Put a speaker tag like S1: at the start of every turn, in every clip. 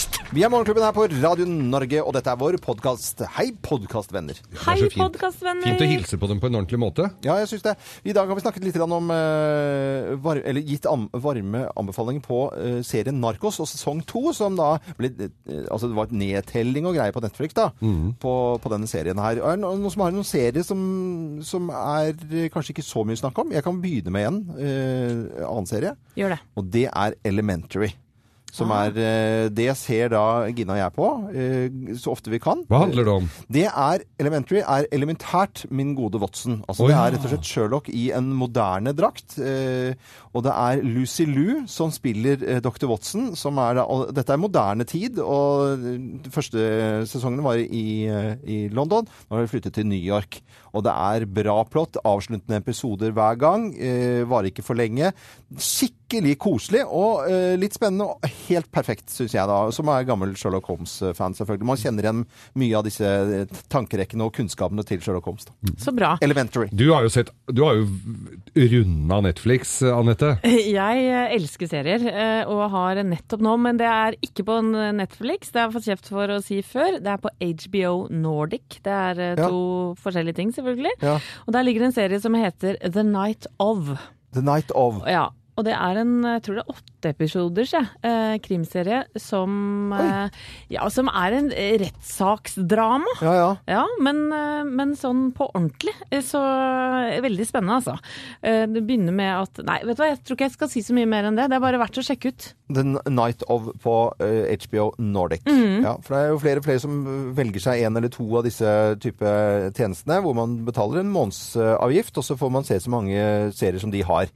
S1: Vi er Morgenklubben her på Radio Norge, og dette er vår podkast. Hei, podkastvenner.
S2: Hei,
S3: Det er så fint.
S2: podkastvenner!
S3: Fint å hilse på dem på en ordentlig måte.
S1: Ja, jeg syns det. I dag har vi snakket litt grann om eh, var, Eller gitt am varme anbefalinger på eh, serien Narkos og sesong to, som da ble eh, Altså, det var et nedtelling og greier på Netflix, da, på, på denne serien her. Og Er det no- noen som har noen serier som, som er eh, kanskje ikke så mye snakk om? Jeg kan begynne med en eh, annen serie.
S2: Gjør det.
S1: Og det er Elementary. Som er eh, Det ser da Gina og jeg på eh, så ofte vi kan.
S3: Hva handler det om?
S1: Det er Elementary er elementært, min gode Watson. Altså,
S3: Å,
S1: det
S3: ja.
S1: er rett og slett Sherlock i en moderne drakt. Eh, og det er Lucy Lou som spiller eh, Dr. Watson. Som er da, og dette er moderne tid, og eh, de første sesongen var i, eh, i London. Nå har de flyttet til New York. Og det er bra plott. Avsluttende episoder hver gang. Eh, varer ikke for lenge. Skikkelig koselig og eh, litt spennende. Og helt perfekt, syns jeg, da. Som er gammel Sherlock Holmes-fan, selvfølgelig. Man kjenner igjen mye av disse eh, tankerekkene og kunnskapene til Sherlock Holmes. Da.
S2: Så bra.
S1: Elementary.
S3: Du har jo sett Du har jo runda Netflix, Anette.
S2: Jeg eh, elsker serier, eh, og har nettopp nå, men det er ikke på n- Netflix, det har jeg fått kjeft for å si før. Det er på HBO Nordic. Det er eh,
S1: Ja.
S2: to forskjellige ting, selvfølgelig.
S1: Ja.
S2: Og der ligger en serie som heter The Night Of.
S1: The Night of.
S2: Ja, og det er en, jeg tror det er åtte episoders, jeg, eh, krimserie som, eh, ja, som er en eh, rettssaksdrama.
S1: Ja, ja.
S2: Ja, men, eh, men sånn på ordentlig, eh, så eh, veldig spennende altså. Eh, Det begynner med at, nei, vet du hva, jeg tror ikke jeg skal si så mye mer enn det. Det er bare verdt å sjekke ut.
S1: The Night of på eh, HBO Nordic. Ja, for det er jo flere og flere som eh, velger seg en eller to av disse eh, type tjenestene, hvor man betaler en månedsavgift, og så får man se så mange eh, serier som de har.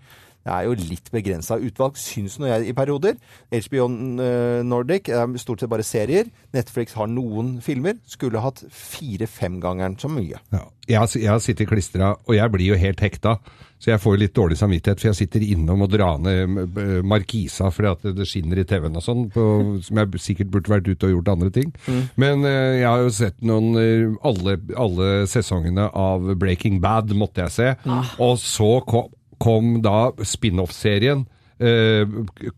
S1: Det er jo litt begrensa utvalg, syns nå jeg, i perioder. HBO eh, Nordic er stort sett bare serier. Netflix har noen filmer. Skulle hatt fire-femgangeren så mye.
S3: Ja. Jeg, har- jeg har sittet klistra, og jeg blir jo helt hekta. Så jeg får jo litt dårlig samvittighet, for jeg sitter innom og drar ned eh, markisa fordi at det skinner i TV-en og sånn, på- som jeg sikkert burde vært ute og gjort andre ting. Men eh, jeg har jo sett noen eh, alle, alle sesongene av Breaking Bad måtte jeg se. Og så kom, kom da spin-off-serien. eh,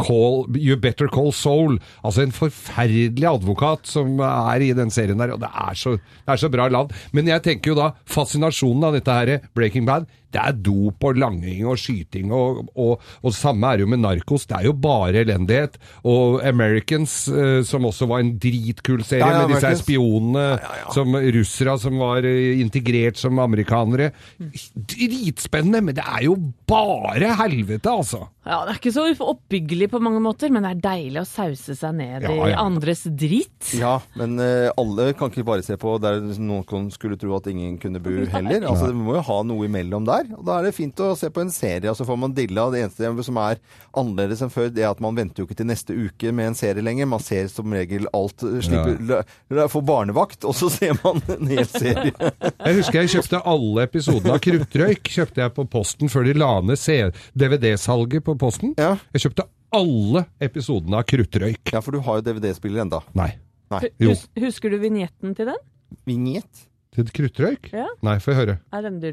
S3: call, you Better Call Soul. Altså en forferdelig advokat som er i den serien der, og det er så, det er så bra land. Men jeg tenker jo da, fascinasjonen av dette her, Breaking Bad, det er dop og langing og skyting, og, og, og samme er det jo med narkos. Det er jo bare elendighet. Og Americans, eh, som også var en dritkul serie
S1: Ja, ja,
S3: med disse her
S1: Americans.
S3: spionene, som russere som var eh, integrert som amerikanere.
S1: Mm.
S3: Dritspennende, men det er jo bare helvete, altså.
S2: Ja, det er ikke så oppbyggelig på mange måter, men det er deilig å sause seg ned
S3: Ja,
S2: i
S3: ja.
S2: andres drit.
S1: Ja, men eh, alle kan ikke bare se på der noen skulle tro at ingen kunne bo heller. Altså, Vi må jo ha noe imellom der. Og da er det fint å se på en serie, og så får man dilla. Det eneste som er annerledes enn før, det er at man venter jo ikke til neste uke med en serie lenger. Man ser som regel alt. eh, Slipper, lø- lø- Får barnevakt, og så ser man en hel serie.
S3: Jeg husker jeg kjøpte alle episodene av Kruttrøyk kjøpte jeg på posten før de la ned C- DVD-salget på posten.
S1: Ja.
S3: Jeg kjøpte alle episodene av Kruttrøyk.
S1: Ja, for du har jo DVD-spiller enda.
S3: Nei.
S1: Nei.
S3: Jo.
S2: Hus husker du vignetten til den?
S1: Vignett?
S3: Til Kruttrøyk?
S2: Ja.
S3: Nei, få høre.
S2: Er den Nei,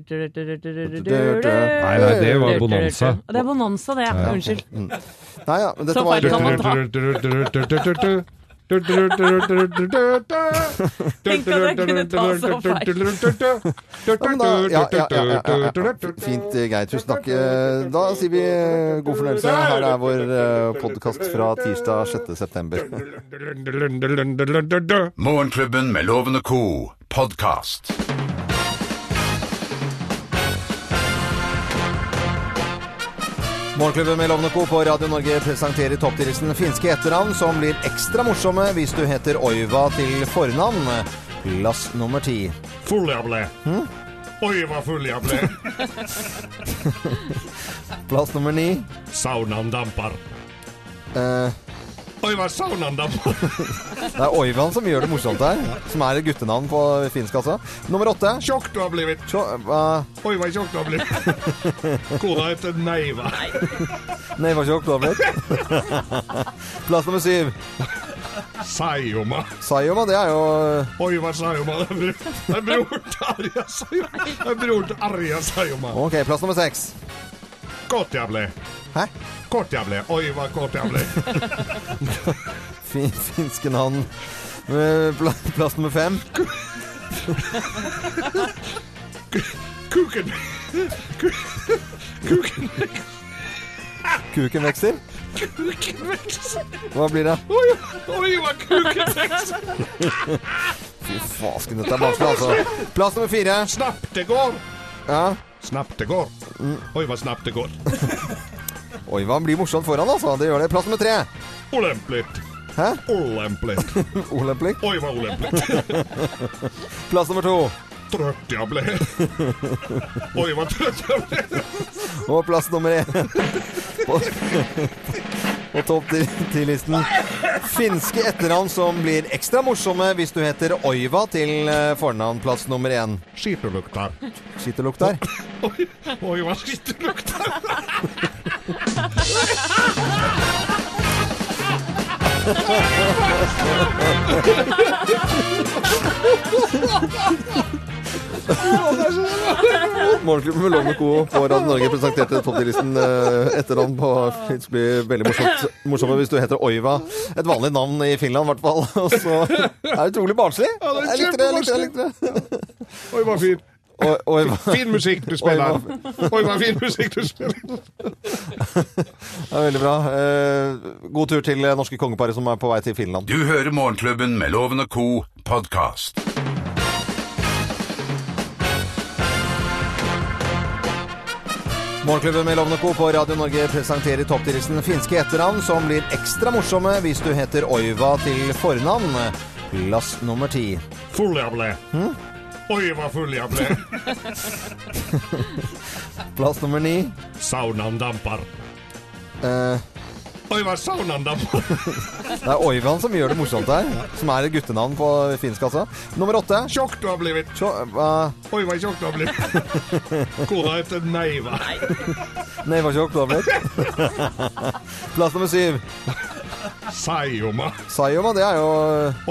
S1: Nei,
S3: nei, det var Bonanza.
S2: Det er Bonanza, det. ja. Unnskyld.
S1: Nei ja, men dette
S2: Så feil
S1: var
S2: kan man ta. Tenk at jeg kunne ta så
S1: Ja, men da, ja, ja, ja, ja, ja, ja. Fint, eh, Geir. Tusen takk. Eh, Da sier vi eh, god fornøyelse. Her er vår eh, podkast fra tirsdag 6. september.
S4: Morgenklubben med Loven og co. podkast.
S1: Morgenklubben med Lovende Co. på Radio Norge presenterer topptillitsen finske etternavn, som blir ekstra morsomme hvis du heter Oiva til fornavn. Plass nummer ti.
S5: Full jeg ble.
S1: Hm?
S5: Oi, hva full jeg ble.
S1: Plass nummer ni.
S5: Saunan damper.
S1: Eh,
S5: Oi, hva saunan damper.
S1: Det er Oivan som gjør det morsomt her. Som er et guttenavn på finsk, altså. Nummer åtte.
S5: Tjokk du har blivit.
S1: Tjo... hva?
S5: Oi, hva tjokk du har blivit. Kona heter Neiva.
S1: Nei, var ikke oktober. Plass nummer syv.
S5: Sajoma.
S1: Sayoma, det er jo
S5: Oi, hva sajoma. Det er bro- det er bror til Arja Sajoma. Det er bror til Arja Sajoma.
S1: OK, plass nummer seks.
S3: kort jeg ble.
S1: Hæ?
S3: Kort jeg ble. Oi, hva kort jeg ble.
S1: Fin, finske navn. Eh, pla- Plass nummer fem.
S3: Kuken. Kuken.
S1: Kuken vokser.
S3: Kuken vokser.
S1: Hva blir det?
S3: Oi, oi, hva kuken vokser.
S1: Fy fasken, dette er vanskelig, altså. Plass nummer fire.
S3: Snabbt det går.
S1: Ja.
S3: Snabbt det går. Oi, hva snabbt det går.
S1: Oi, hva blir morsomt foran, altså. Det gjør det. Plass nummer tre.
S3: Olemplig.
S1: Hæ?
S3: Olemplig.
S1: Olemplik.
S3: Oi, hva olemplig.
S1: Plass nummer to.
S3: Trøtt jeg ble. Oi, hva trøtt jeg ble.
S1: Og plass nummer én på, på topp til, til listen. Finske etternavn som blir ekstra morsomme hvis du heter Oiva til eh, fornavn. Plass nummer én.
S3: Skittelukta.
S1: Skitt og lukt der.
S3: Oi, oi, hva skittelukta.
S1: Morgenklubben med Lovende Co. på Radio Norge presenterte topp til listen eh, etternavn på Det blir veldig morsomt, morsomme hvis du heter Oiva. Et vanlig navn i Finland, i hvert fall. Og så er det utrolig barnslig.
S3: Ja, det er
S1: Jeg likte det. jeg likte det, jeg likte det.
S3: Oi, hva fint.
S1: Oi- Oiva.
S3: Fin musikk du spiller. Oi, hva fin musikk du spiller.
S1: Det er veldig bra. Eh, God tur til eh, norske kongeparet som er på vei til Finland.
S4: Du hører Morgenklubben med Loven og Co. podkast.
S1: Morgenklubben med Lovende Co. på Radio Norge presenterer topptillitsen finske etternavn, som blir ekstra morsomme hvis du heter Oiva til fornavn. Plass nummer ti.
S3: Full jeg ble.
S1: Hm?
S3: Oi, hva full jeg ble.
S1: Plass nummer ni.
S3: Saunaen damper.
S1: Eh,
S3: Oi, hva saunaen damper.
S1: det er Oivan som gjør det morsomt her, som er et guttenavn på finsk, altså. Nummer åtte.
S3: Tjokk du har blivit.
S1: Sjå, hva-
S3: Oi, hva tjokk du har blivit. Kona heter Neiva.
S1: Nei, var ikke oktober. Plass nummer syv.
S3: Saioma.
S1: Sayoma, det er jo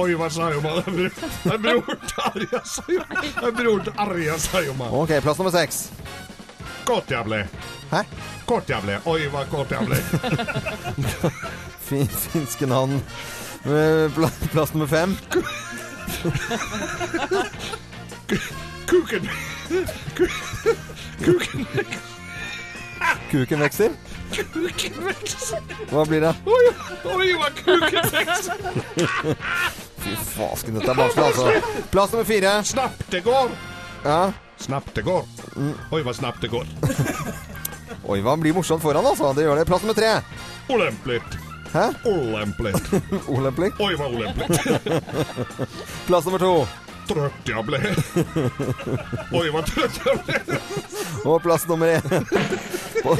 S3: Oi, hva Saioma. Det er bro- det er bror til Arja Saioma. Det er bror til Arja Saioma.
S1: Ok, plass nummer seks.
S3: Kort jeg ble.
S1: Hæ?
S3: Kort jeg ble. Oi, hva kort jeg ble.
S1: Fin, finske navn. Eh, pla- Plass nummer fem.
S3: Kuken. Kuken.
S1: Kuken vokser.
S3: Kuken vokser.
S1: Hva blir det?
S3: Oi, oi, hva kuken vokser.
S1: Fy fasken, dette er vanskelig, altså. Plass nummer fire.
S3: Snabbt det går.
S1: Ja.
S3: Snabbt det går. Oi, hva snabbt det går.
S1: Oi, hva blir morsomt foran, altså. Det gjør det. Plass nummer tre.
S3: Olemplig.
S1: Hæ?
S3: Olemplig.
S1: Olemplik.
S3: Oi, hva olemplig.
S1: Plass nummer to.
S3: Trøtt jeg ble. Oi, hva trøtt jeg ble.
S1: Og plass nummer én. På,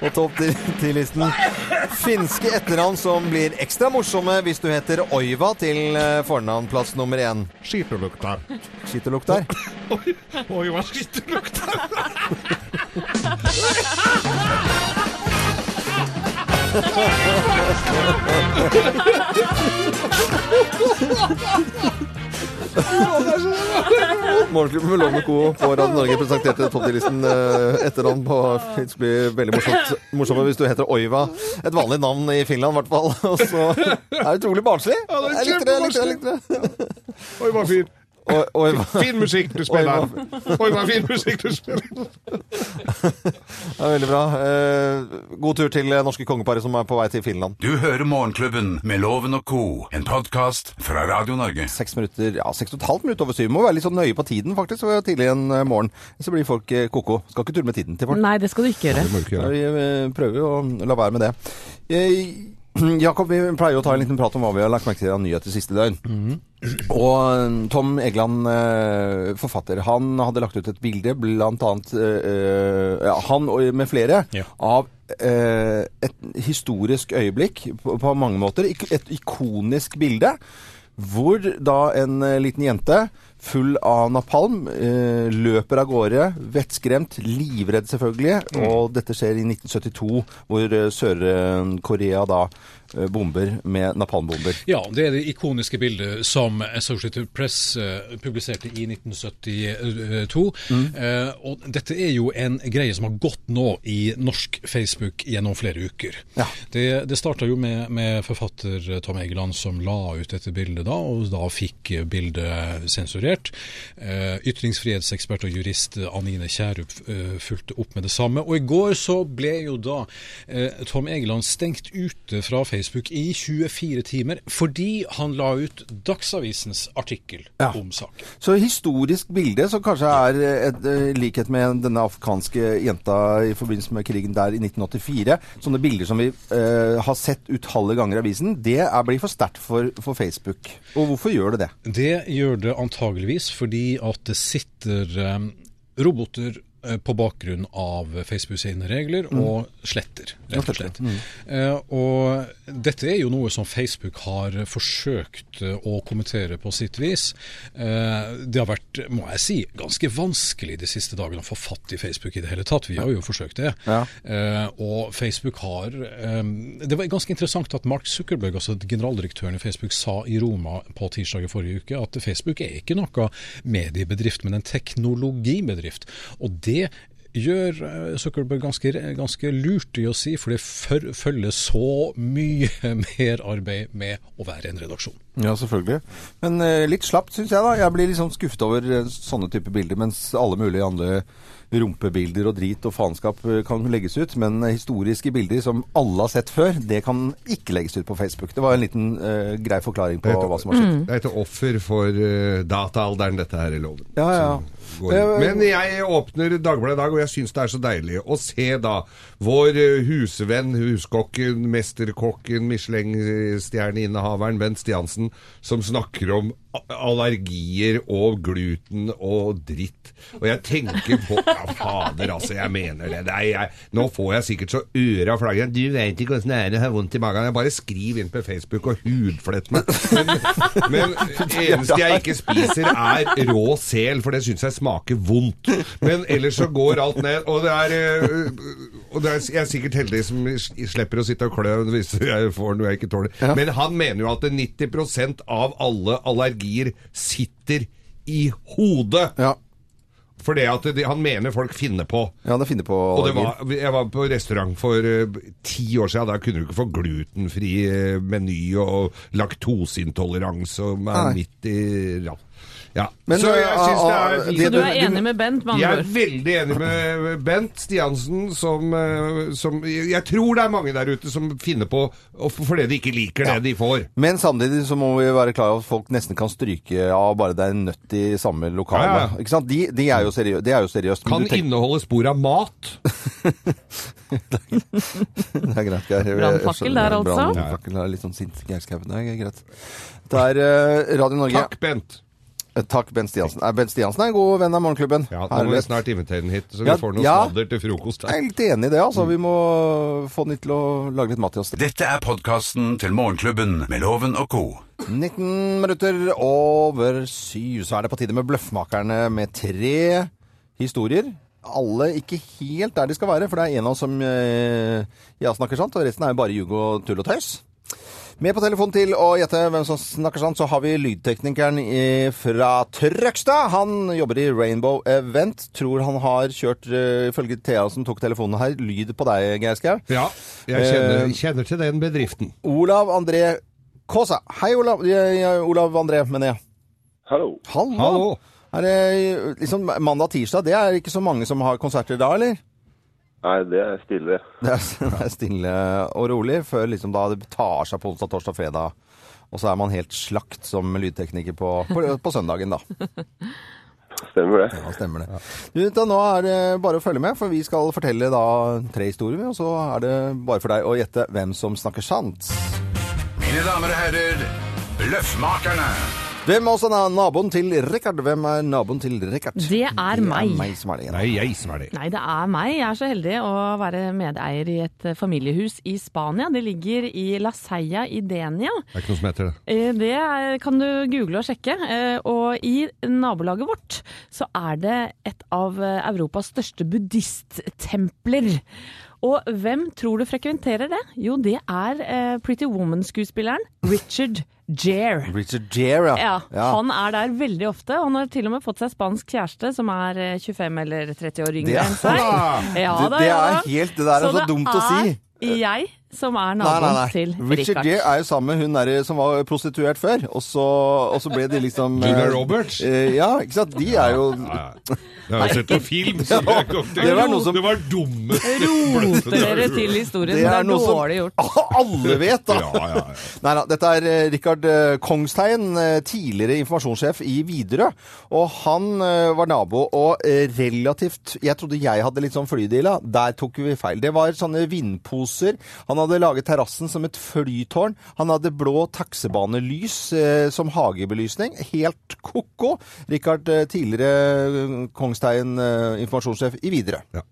S1: på topp til, til listen. Finske etternavn som blir ekstra morsomme hvis du heter Oiva til eh, fornavn. Plass nummer én.
S3: Skittelukta.
S1: Skitt og lukt der.
S3: Oi, oi, hva skittelukta.
S1: Morgenklubben med Lovende Co. på Radio Norge presenterte topptillitsen eh, etternavn på Det blir veldig morsomt, morsomt hvis du heter Oiva. Et vanlig navn i Finland, i hvert fall. Og så er det utrolig barnslig.
S3: Ja, det er
S1: Jeg likte det. jeg likte det, jeg likte det.
S3: Oi, hva fin.
S1: Oi- Oiva
S3: Fin musikk du spiller. Oi, hva fin musikk du spiller.
S1: det er veldig bra. Eh, God tur til eh, norske kongeparet som er på vei til Finland.
S4: Du hører Morgenklubben med Loven og Co. En podkast fra Radio Norge.
S1: Seks minutter, ja, seks og et halvt minutt over syv. Må være litt sånn nøye på tiden, faktisk. så Tidlig en eh, morgen. Så blir folk eh, ko-ko. Skal ikke tulle med tiden til folk.
S2: Nei, det skal du ikke gjøre.
S6: Det må du ikke
S1: Ja,
S6: gjøre.
S1: Vi eh, prøver jo å la være med det. Eh, Jakob, vi pleier jo å ta en liten prat om hva vi har lagt merke til av nyheter siste døgn. Og eh, Tom Egeland, eh, forfatter, han hadde lagt ut et bilde, blant annet eh, eh, ja, han og med flere,
S7: Ja.
S1: av eh, et historisk øyeblikk på, på mange måter. Ik- Et ikonisk bilde. Hvor da en eh, liten jente full av napalm. eh, Løper av gårde, vettskremt, livredd selvfølgelig. Og dette skjer i 1972, hvor eh, Sør-Korea da eh, bomber med napalmbomber.
S7: Ja, det er det ikoniske bildet som Associated Press eh, publiserte i 1972. Eh, og dette er jo en greie som har gått nå i norsk Facebook gjennom flere uker.
S1: Ja.
S7: Det, det starta jo med, med forfatter Tom Egeland som la ut dette bildet da, og da fikk bildet sensurert. Eh, ytringsfrihetsekspert og jurist Anine Kjærup eh, fulgte opp med det samme. Og i går så ble jo da eh, Tom Egeland stengt ute fra Facebook i 24 timer fordi han la ut Dagsavisens artikkel
S1: Ja.
S7: om saken.
S1: Så historisk bilde, som kanskje er eh, et, eh, likhet med denne afghanske jenta i forbindelse med krigen der i 1984. Sånne bilder som vi eh, har sett utallige ganger i avisen, det er, blir for sterkt for, for Facebook. Og hvorfor gjør det det?
S7: Det gjør det antageligvis fordi at det sitter eh, roboter eh, på bakgrunn av Facebook sine regler og sletter, rett og slett. Eh, og dette er jo noe som Facebook har forsøkt eh, å kommentere på sitt vis. Eh, det har vært, må jeg si, ganske vanskelig de siste dagene å få fatt i Facebook i det hele tatt. Vi har jo forsøkt det.
S1: Ja.
S7: Eh, og Facebook har eh, Det var ganske interessant at Mark Zuckerberg, altså generaldirektøren i Facebook, sa i Roma på tirsdag i forrige uke at Facebook er ikke noe mediebedrift, men en teknologibedrift. Og det gjør eh, Zuckerberg ganske, ganske lurt i å si, for det før- følger så mye mer arbeid med å være en redaksjon.
S1: Ja, selvfølgelig. Men eh, litt slapt, syns jeg, da. Jeg blir litt sånn skuffet over eh, sånne type bilder, mens alle mulige andre rumpebilder og drit og faenskap eh, kan legges ut. Men eh, historiske bilder som alle har sett før, det kan ikke legges ut på Facebook. Det var en liten eh, grei forklaring på
S3: Det heter-
S1: hva som har skjedd.
S3: Det heter offer for eh, dataalderen, dette her i loven.
S1: Ja, ja.
S3: Som går inn. Men jeg åpner Dagbladet i dag, og jeg syns det er så deilig å se da vår eh, husvenn, huskokken, mesterkokken, Michelin-stjerneinnehaveren Bent Stiansen, som snakker om a- allergier og gluten og dritt. Og jeg tenker på Ja, fader, altså, jeg mener det. Nei, jeg, nå får jeg sikkert så øra flagger. Du veit ikke åssen det er å ha vondt i magen. Jeg bare skriv inn på Facebook og hudflett meg. Men, men det eneste jeg ikke spiser, er rå sel, for det syns jeg smaker vondt. Men ellers så går alt ned. Og det er, eh, og det er jeg er sikkert heldig som slipper å sitte og klø hvis jeg får noe jeg ikke tåler. Men han mener jo at 90 av alle allergier sitter i hodet.
S1: Ja.
S3: For det at de, han mener folk finner på.
S1: Ja, det finner på
S3: Og det
S1: allergier.
S3: var, jeg var på restaurant for eh, ti år siden, da kunne du ikke få glutenfri eh, meny og laktoseintoleranse som er
S1: Nei.
S3: midt i ja. Ja.
S1: Men,
S3: Så jeg
S1: eh,
S3: syns det
S1: ah,
S3: er
S1: ah,
S3: fint.
S1: det-
S2: Så du er enig med Bent, med
S3: Jeg er
S2: andre ord?
S3: veldig enig med Bent Stiansen, som, eh, som Jeg tror det er mange der ute som finner på og f- fordi de ikke liker det de får.
S1: Men samtidig så må vi være klar over at folk nesten kan stryke av bare det er en nøtt i samme lokale.
S3: Ja, ja.
S1: Ikke sant? De, de er jo seriø det er jo seriøst. men
S3: Kan
S1: du tenker-
S3: inneholde spor av mat.
S1: Det er greit, Geir. Jeg- jeg
S2: Brannfakkel
S1: skjønner
S2: der,
S1: det.
S2: altså.
S1: Brannfakkel er litt sånn sint Geirskauen. Det er greit. Det er eh, Radio Norge.
S3: Takk, Bent.
S1: Eh, Takk, Bent Stiansen. Nei, Bent Stiansen er en god venn av Morgenklubben.
S3: Ja, nå må vi
S1: Herlighet.
S3: snart invitere den hit, så vi
S1: Ja,
S3: får noe
S1: ja.
S3: sladder til frokost.
S1: Jeg er helt enig i det, altså. Vi må få den til å lage litt mat til oss.
S4: Dette er podkasten til Morgenklubben med Loven og co.
S1: 19 minutter over syv, så er det på tide med Bløffmakerne med tre historier. Alle ikke helt der de skal være, for det er en av oss som eh, ja, snakker sant, og resten er jo bare ljug og tull og tøys. Med på telefon til å gjette hvem som snakker sant, så har vi lydteknikeren i, fra Trøgstad. Han jobber i Rainbow Event. Tror han har kjørt, eh, ifølge Thea som tok telefonen her, lyd på deg, Geir Skau.
S3: Ja, jeg kjenner,
S1: Eh,
S3: kjenner til den bedriften.
S1: Olav André Kaasa. Hei, Olav. Jeg, jeg, Olav André, mener jeg.
S8: Hallo.
S1: Hallo.
S3: Hallo.
S1: Er det liksom mandag-tirsdag? Det er ikke så mange som har konserter da, eller?
S8: Nei, det er stille.
S1: Det er, det er stille og rolig før liksom da det tar seg på onsdag, torsdag, fredag. Og så er man helt slakt som lydtekniker på, på, på søndagen, da.
S8: Stemmer det.
S1: Ja, stemmer det. Du, da, nå er det bare å følge med, for vi skal fortelle da tre historier, vi, og så er det bare for deg å gjette hvem som snakker sant.
S4: Mine damer og herrer, Bløffmakerne.
S1: Hvem også er naboen til Richard? Hvem er naboen til Richard?
S2: Det er meg.
S1: meg som er det igjen.
S3: Nei, jeg som er det.
S2: Nei, det er meg. Jeg er så heldig å være medeier i et eh, familiehus i Spania. Det ligger i La Seia i Denia.
S3: Det er ikke noe som heter det.
S2: Eh, Det er- kan du google og sjekke. Eh, Og i nabolaget vårt så er det et av eh, Europas største buddhisttempler. Og hvem tror du frekventerer det? Jo, det er eh, Pretty Woman-skuespilleren Richard Jere.
S1: Richard Gere,
S2: Ja, han er der veldig ofte. Han har til og med fått seg spansk kjæreste som er eh, 25 eller 30 år
S1: Det-
S2: yngre enn seg. Ja,
S1: Det-
S2: da,
S1: det
S2: ja,
S1: er
S2: da.
S1: helt- det der er så dumt å si.
S2: Det er jeg som er
S1: Nei,
S2: naboen
S1: nei, nei.
S2: til
S1: Richard
S2: Richard.
S1: Gere er jo sammen med hun der eh, som var prostituert før, og så, og så ble de liksom
S3: Julia
S1: eh,
S3: Roberts?
S1: eh, ja, ikke sant? De er jo
S3: Ja, ja. Det har jeg sett på film. Så det, er ikke-
S1: Det var noe som-
S3: det var dumme
S2: Roter dere til historien,
S1: Det
S2: det
S1: er
S2: er,
S1: noe som-
S2: dårlig gjort.
S1: Alle vet, da!
S3: Ja, ja, ja.
S1: Nei da, dette er eh, Rikard eh, Kongstein, eh, tidligere informasjonssjef i Widerøe. Og han eh, var nabo, og eh, relativt Jeg trodde jeg hadde litt sånn flydeala. Der tok vi feil. Det var sånne vindposer. Han hadde laget terrassen som et flytårn. Han hadde blå taksebanelys eh, som hagebelysning. Helt ko-ko. Rikard, eh, tidligere eh, Kongstein, eh, informasjonssjef i Widerøe.
S3: Ja.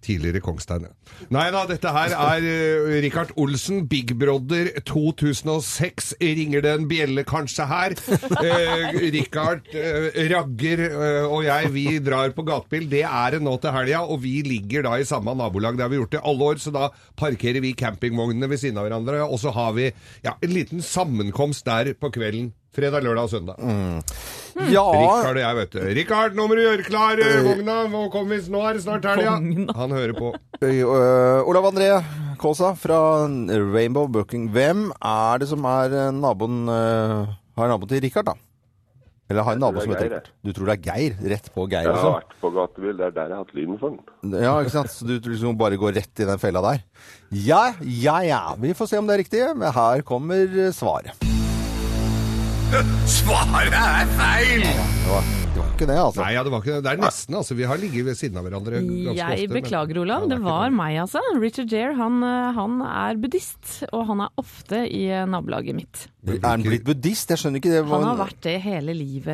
S3: Tidligere Kongstein. ja. Nei da, dette her er eh, Rikard Olsen, Big Brother 2006. Ringer det en bjelle kanskje her? Eh, Rikard, eh, Ragger eh, og jeg, vi drar på gatebil. Det er det nå til helga, og vi ligger da i samme nabolag. Det har vi gjort i alle år, så da parkerer vi campingvognene ved siden av hverandre. Og så har vi ja, en liten sammenkomst der på kvelden. Fredag, lørdag og søndag.
S1: Ja,
S3: Rikard og jeg, vet du. Rikard, nå må du gjøre klar eh, vogna! Nå kommer- nå er det snart helga!
S2: Vogna.
S3: Han hører på.
S1: Øy, øh, Olav André Kaasa fra Rainbow Booking. Hvem er det som er øh, naboen øh, Har naboen til Richard, da? Eller har en nabo
S8: det er
S1: som heter
S8: Geir,
S1: Richard? Du tror det er Geir? Rett på Geir,
S8: Jeg har
S1: liksom?
S8: vært på gatebil. Det er der jeg har hatt lyden for den.
S1: Ja, ikke sant? Så du liksom bare går rett i den fella der? Ja, ja, ja. Vi får se om det er riktig. Men her kommer øh, svaret.
S4: Svaret er feil!
S1: Det var, det var ikke det, altså.
S3: Nei, ja, det var ikke det. Det er nesten, altså. Vi har ligget ved siden av hverandre ganske
S2: Jeg
S3: ofte. men-
S2: beklager, Olav.
S3: Ja,
S2: Det
S3: er ikke
S2: var meg, altså. Richard Jere han, eh, han er buddhist, og han er ofte i eh, nabolaget mitt.
S1: Er han blitt buddhist? Jeg skjønner ikke det.
S2: Han har vært det hele livet,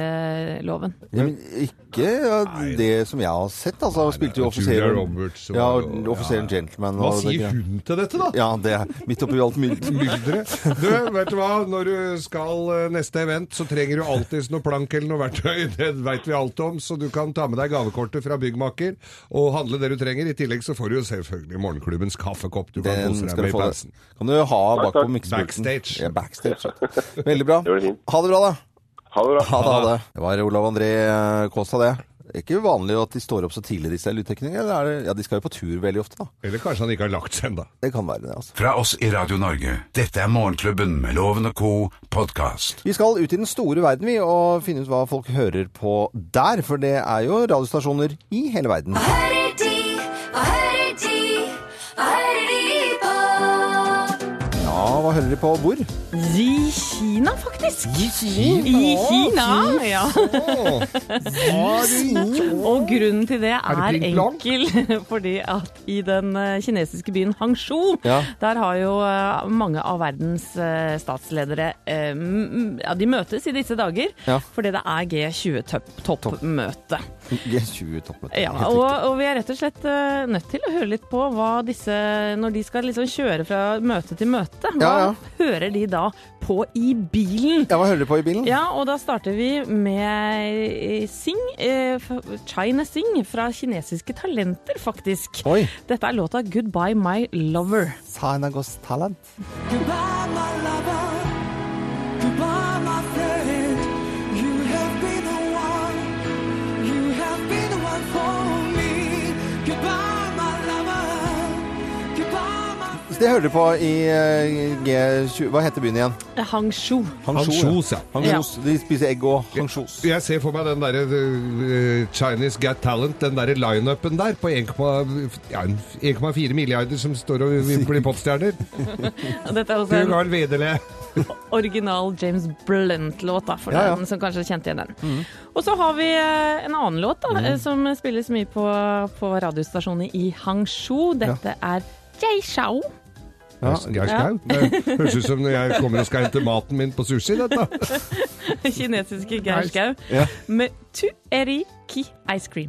S2: eh, Loven.
S1: Ja, men ikke ja, det som jeg har sett, altså. Han spilte jo
S3: Julia
S1: offiseren
S3: Roberts var
S1: Ja,
S3: jo- ja, ja.
S1: offiseren Gentleman.
S3: Hva
S1: og det
S3: sier
S1: greiene.
S3: hun til dette, da?
S1: Ja, det er midt oppi alt mylderet.
S3: Myldre. Du, vet du hva? Når du skal eh, neste event, så trenger du alltid noe plank eller noe verktøy. Det veit vi alt om, så du kan ta med deg gavekortet fra byggmaker og handle det du trenger. I tillegg så får du jo selvfølgelig morgenklubbens kaffekopp du kan
S1: Den
S3: kose deg
S1: skal
S3: med
S1: du
S3: i
S1: få.
S3: pausen.
S1: Kan du ha bak på
S8: takk.
S1: miksepulten.
S3: Backstage.
S1: Ja, backstage. ja. Veldig bra.
S8: Det var fint.
S1: Ha det bra, da.
S8: Ha det bra.
S1: Ha det, ha det. Det var Olav André Kaasa, det. Det er ikke uvanlig at de står opp så tidlig, disse lydteknikerne. eller er det- Ja, de skal jo på tur veldig ofte, da.
S3: Eller kanskje han ikke har lagt seg ennå.
S1: Det kan være det, altså.
S4: Fra oss i Radio Norge. Dette er Morgenklubben med Loven og co. podkast.
S1: Vi skal ut i den store verden, vi, og finne ut hva folk hører på der. For det er jo radiostasjoner i hele verden.
S9: Hva hører de? Hva hører de? Hva hører de på?
S1: Ja, hva hører de på? Hvor?
S2: I Kina, faktisk!
S1: I Kina.
S2: I Kina, ja. Og grunnen til det er
S3: pling plong?
S2: enkel, fordi at i den eh, kinesiske byen Hangzhou,
S1: Ja.
S2: der har jo eh, mange av verdens eh, statsledere eh, m- m- ja, De møtes i disse dager,
S1: Ja.
S2: fordi det er G20-toppmøte.
S1: G20-toppmøte.
S2: Ja,
S1: Helt
S2: og,
S1: riktig.
S2: og vi er rett og slett eh, nødt til å høre litt på hva disse Når de skal liksom kjøre fra møte til møte, hva
S1: Ja, ja.
S2: hører de da på i bilen?
S1: Ja, hva hører de på i bilen?
S2: Ja, og da starter vi med eh, Sing, eh, f- China Sing fra kinesiske talenter, faktisk.
S1: Oi.
S2: Dette er låta 'Goodbye My Lover'.
S1: Sanagos Talent.
S10: Goodbye, my lover. Goodbye, my friend. You have been the one. You have been the one for me. Goodbye, my lover. Goodbye, my friend.
S1: Det hører du på i eh, G20 Hva heter byen igjen?
S2: Eh, Hangzhou.
S3: Hangsjos, ja.
S1: Hangsjos. De spiser egg og hangsjos.
S3: Jeg ser for meg den der eh, Chinese Got Talent, den der lineupen der på 1,4 ja, en 1,4 milliarder som står og vimpler i popstjerner.
S2: Og Dette er også
S3: Du
S2: en
S3: Carl Vedele.
S2: original James Blunt-låt, da, for
S1: Ja, Mhm. ja.
S2: den som kanskje kjente igjen den. Og så har vi eh, en annen låt da,
S1: Mhm.
S2: eh, som spilles mye på, på radiostasjoner i Hangzhou. Dette er Jay Shao
S1: Ja.
S3: Geir Skau. Det høres ut som når jeg kommer og skal hente maten min på sushi, dette.
S2: Kinesiske Geir Skau.
S1: Ja.
S2: Med Tu Eriki Ice Cream.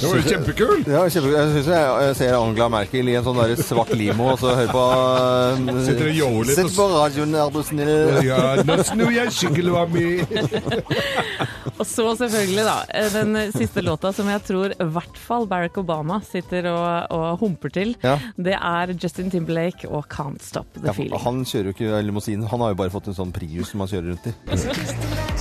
S3: Det var jo kjempekul!
S1: Ja, kjempe, jeg syns jeg, jeg ser Angela Merkel i en sånn der svart limo og så hører på eh,
S3: Sitter og joler litt og
S1: Sett
S3: s-
S1: på radioen, er du snill.
S3: Ja, nå snur jeg skyggelua mi!
S2: Og så selvfølgelig, da, eh, den siste låta som jeg tror i hvert fall Barack Obama sitter og, og humper til.
S1: Ja.
S2: Det er Justin Timberlake og Can't Stop The
S1: Ja,
S2: Feeling.
S1: for han kjører jo ikke limousin, han har jo bare fått en sånn Prius som han kjører rundt i.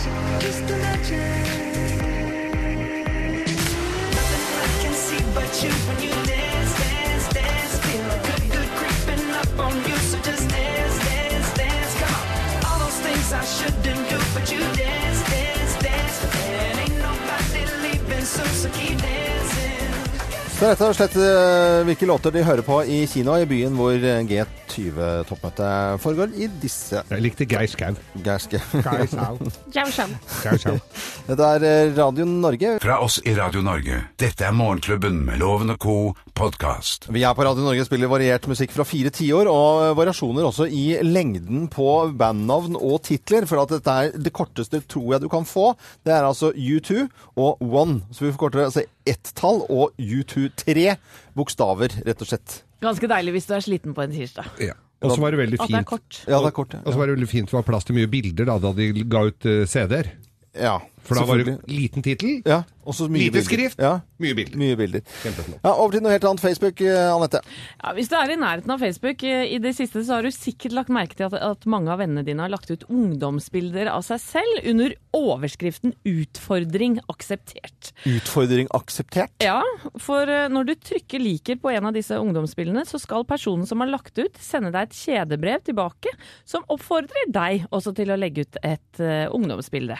S1: Så det er rett og slett eh, hvilke låter de hører på i Kina, i byen hvor eh, G20-toppmøtet foregår i disse
S3: Jeg likte Geir Skau.
S1: gærske.
S3: Geir Skau.
S2: Jau, sjau.
S3: Geir Skau.
S1: Dette er eh, Radio Norge.
S4: Fra oss i Radio Norge. Dette er Morgenklubben med Loven og Co. podkast.
S1: Vi er på Radio Norge og spiller variert musikk fra fire tiår, og variasjoner også i lengden på bandnavn og titler. For at dette er det korteste tror jeg du kan få. Det er altså U2 og One. Så vi forkorter altså ett tall og U2 tre bokstaver, rett og slett.
S2: Ganske deilig hvis du er sliten på en tirsdag.
S3: Ja. Og så var det veldig
S2: At det er
S3: fint.
S2: kort.
S1: Ja, det er kort.
S3: Og så var det veldig fint, det var plass til mye bilder da, da de ga ut eh, CD-er.
S1: Ja,
S3: For da var det
S1: selvfølgelig.
S3: liten tittel,
S1: ja, og så mye
S3: Lite
S1: bilder.
S3: skrift.
S1: Ja,
S3: mye bilder.
S1: mye bilder.
S3: Kjempeflott.
S1: Ja, over til noe helt annet. Facebook, eh, Anette.
S2: Ja, hvis du er i nærheten av Facebook eh, i det siste, så har du sikkert lagt merke til at, at mange av vennene dine har lagt ut ungdomsbilder av seg selv under overskriften 'Utfordring akseptert'.
S1: Utfordring akseptert.
S2: Ja, for eh, når du trykker 'liker' på en av disse ungdomsbildene, så skal personen som har lagt ut, sende deg et kjedebrev tilbake som oppfordrer deg også til å legge ut et eh, ungdomsbilde.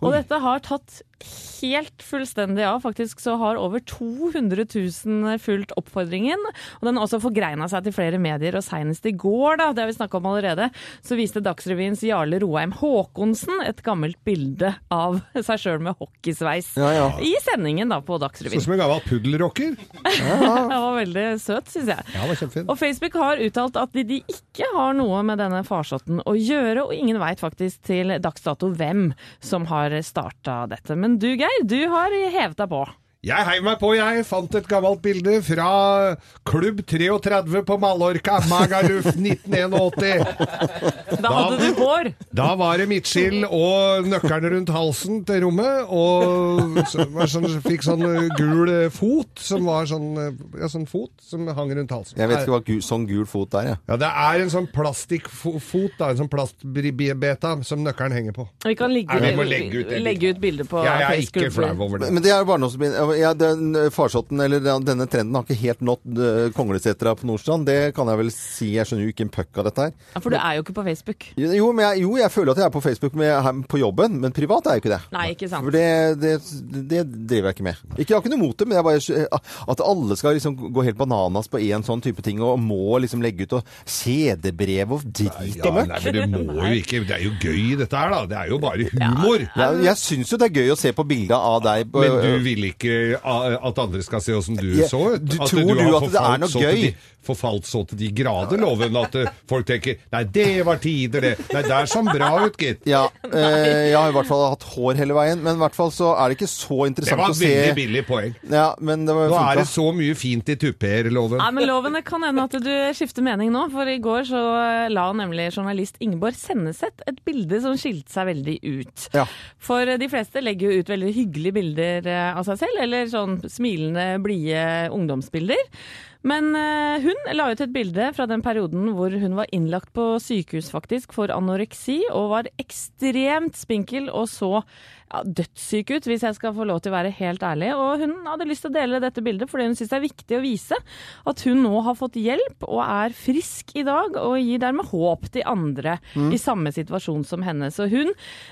S2: Og dette har tatt helt fullstendig av. Faktisk så har over 200 000 eh, fulgt oppfordringen. Og den har også forgreina seg til flere medier, og seinest i går, da, det har vi snakka om allerede, så viste Dagsrevyens Jarle Roheim Haakonsen et gammelt bilde av seg sjøl med hockeysveis.
S1: Ja, ja.
S2: I sendingen da på Dagsrevyen.
S3: Sånn som en gammel puddelrocker.
S2: Den var veldig søt, syns jeg.
S3: Ja, det var kjempefint.
S2: Og Facebook har uttalt at de, de ikke har noe med denne farsotten å gjøre, og ingen veit faktisk til dags dato hvem som har starta dette. Men du Geir, du har hevet deg på.
S3: Jeg heiv meg på, jeg fant et gammelt bilde fra Klubb 33 på Mallorca, Magaluf 1981.
S2: Da hadde du hår!
S3: Da var det midtskill og nøkkelen rundt halsen til rommet, og så var sånn, fikk sånn eh, gul eh, fot, som var sånn, eh, ja, sånn fot som hang rundt halsen.
S1: Jeg vet ikke hva gu- sånn gul fot er, jeg.
S3: Ja, det er en sånn plastikkfot, da, en sånn plastbeta som nøkkelen henger på.
S2: Vi kan ligge,
S3: Nei, vi må legge ut det
S2: legge ut bilde på
S3: Jeg er
S2: Facebook.
S3: ikke flau over det.
S1: Men det er jo barndomsbind. Ja, den farsotten, eller den- denne trenden, har ikke helt nådd eh, Konglesetra på Nordstrand. Det kan jeg vel si. Jeg skjønner jo ikke en puck av dette her.
S2: Ja, For du er jo ikke på Facebook.
S1: Jo, men jeg, jo, jeg føler at jeg er på Facebook med, her på jobben, men privat er jeg jo ikke det.
S2: Nei, ikke sant.
S1: For det, det, det driver jeg ikke med. Ikke, jeg har ikke noe mot det, men jeg bare, at alle skal liksom gå helt bananas på én sånn type ting, og må liksom legge ut og kjedebrev og drit
S3: Ja,
S1: og møkk.
S3: nei, men det må jo ikke Det er jo gøy dette her, da. Det er jo bare humor.
S1: Ja, Jeg syns jo det er gøy å se på bildet av deg.
S3: Men du vil ikke a- at andre skal se åssen du
S1: Ja,
S3: så ut?
S1: du- tror du at det er
S3: forfalt
S1: noe
S3: så til
S1: gøy?
S3: De, forfalt så til de grader, loven, at eh, folk tenker 'nei, det var tider, det'. Nei, der så han bra ut, gitt.
S1: Ja, eh, jeg har i hvert fall hatt hår hele veien, men i hvert fall så er det ikke så
S3: Det
S1: interessant
S3: var
S1: å
S3: et
S1: se
S3: veldig billig poeng.
S1: Ja, men det var
S3: Nå er
S1: funka.
S3: det så mye fint i tupper, loven.
S2: Nei, men loven, Det kan hende at du skifter mening nå, for i går så eh, la nemlig journalist Ingeborg Senneset et bilde som skilte seg veldig ut.
S1: Ja.
S2: For eh, de fleste legger jo ut veldig hyggelige bilder eh, av seg selv, eller sånn smilende, blide ungdomsbilder. Men eh, hun la ut et bilde fra den perioden hvor hun var innlagt på sykehus faktisk for anoreksi, og var ekstremt spinkel og så ja, dødssyk ut, hvis jeg skal få lov til å være helt ærlig. Og hun hadde lyst til å dele dette bildet fordi hun syns det er viktig å vise at hun nå har fått hjelp og er frisk i dag, og gir dermed håp til andre
S1: Mm.
S2: i samme situasjon som henne. Så hun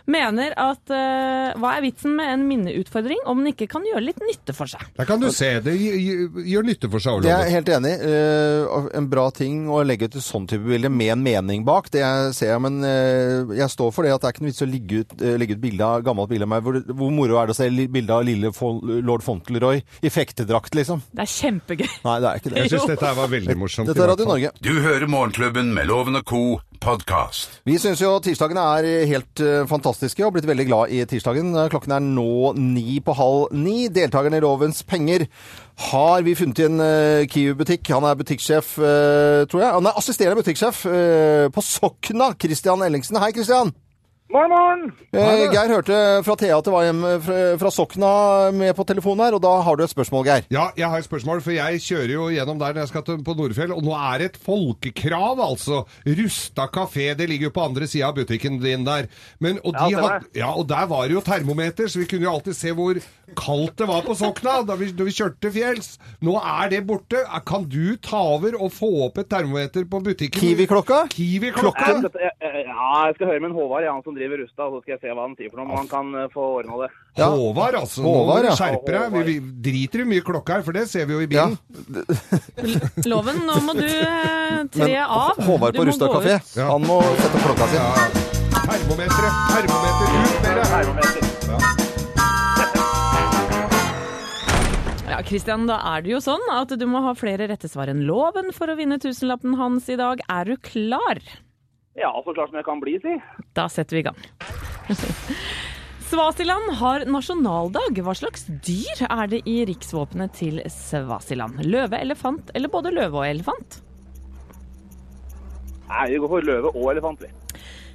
S2: mener at eh, hva er vitsen med en minneutfordring om den ikke kan gjøre litt nytte for seg?
S3: Der kan du se. Det gjør gjør nytte for seg.
S1: Det er
S3: Olav.
S1: jeg helt enig i. Eh, og En bra ting å legge ut et sånn type bilde med en mening bak, det jeg ser jeg, men eh, jeg står for det at det er ikke noe vits å ligge ut, eh, legge ut bilde av, gammelt bilde av meg. Hvor, hvor moro er det å se li- bilde av lille Fol- lord Fauntleroy i fektedrakt, liksom?
S2: Det er kjempegøy.
S1: Nei, det er ikke
S3: Jeg
S1: det.
S3: syns dette her var veldig morsomt.
S1: Dette er
S3: i hvert
S1: Radio
S3: fall.
S1: Norge.
S4: Du hører Morgenklubben med Loven og Co. podkast.
S1: Vi syns jo tirsdagene er helt eh, fantastiske og har blitt veldig glad i tirsdagen. Klokken er nå ni på halv ni. Deltakerne i Lovens penger har vi funnet i en eh, Kiwi-butikk. Han er butikksjef, eh, tror jeg. Han er assisterende butikksjef eh, på Sokna, Christian Ellingsen. Hei, Christian.
S11: Morgen, morgen!
S1: Eh, Geir hørte fra Thea at det var hjemme fra, fra Sokna med på telefonen her, og da har du et spørsmål, Geir.
S3: Ja, jeg har et spørsmål, for jeg kjører jo gjennom der når jeg skal til, på Nordfjell, og nå er det et folkekrav, altså. Rusta kafé, det ligger jo på andre sida av butikken din der. Men, og, de
S11: Ja, stemmer.
S3: had, ja, og der var det jo termometer, så vi kunne jo alltid se hvor kaldt det var på Sokna da vi, da vi kjørte til fjells. Nå er det borte. Kan du ta over og få opp et termometer på butikken?
S1: Kiwi-klokka?
S3: Kiwi-klokka?
S11: Jeg skal, jeg, jeg- ja, jeg skal høre med en Håvard, ja, han som driver Rusta, og så skal jeg se hva han sier for noe. Om han kan eh, få ordna det.
S1: Ja.
S3: Håvard, altså.
S1: Håvard,
S3: nå
S1: ja.
S3: skjerper deg. Vi, vi driter i hvor mye klokka er, for det ser vi jo i
S1: Ja.
S3: bilen.
S2: Loven, nå må du eh, tre av.
S1: Håvard
S2: Du
S1: på
S2: må
S1: Rustad
S2: gå ut.
S1: kafé. Han må sette opp klokka si.
S3: Termometeret, termometer ut, dere.
S11: Termometer.
S2: Ja, Kristian, da er det jo sånn at du må ha flere rette svar enn loven for å vinne tusenlappen hans i dag. Er du klar?
S11: Ja, så klart som jeg kan bli, si.
S2: Da setter vi i gang. Svasiland har nasjonaldag. Hva slags dyr er det i riksvåpenet til Svasiland? Løve, elefant eller både løve og elefant?
S11: Nei, vi går for løve og elefant, vi.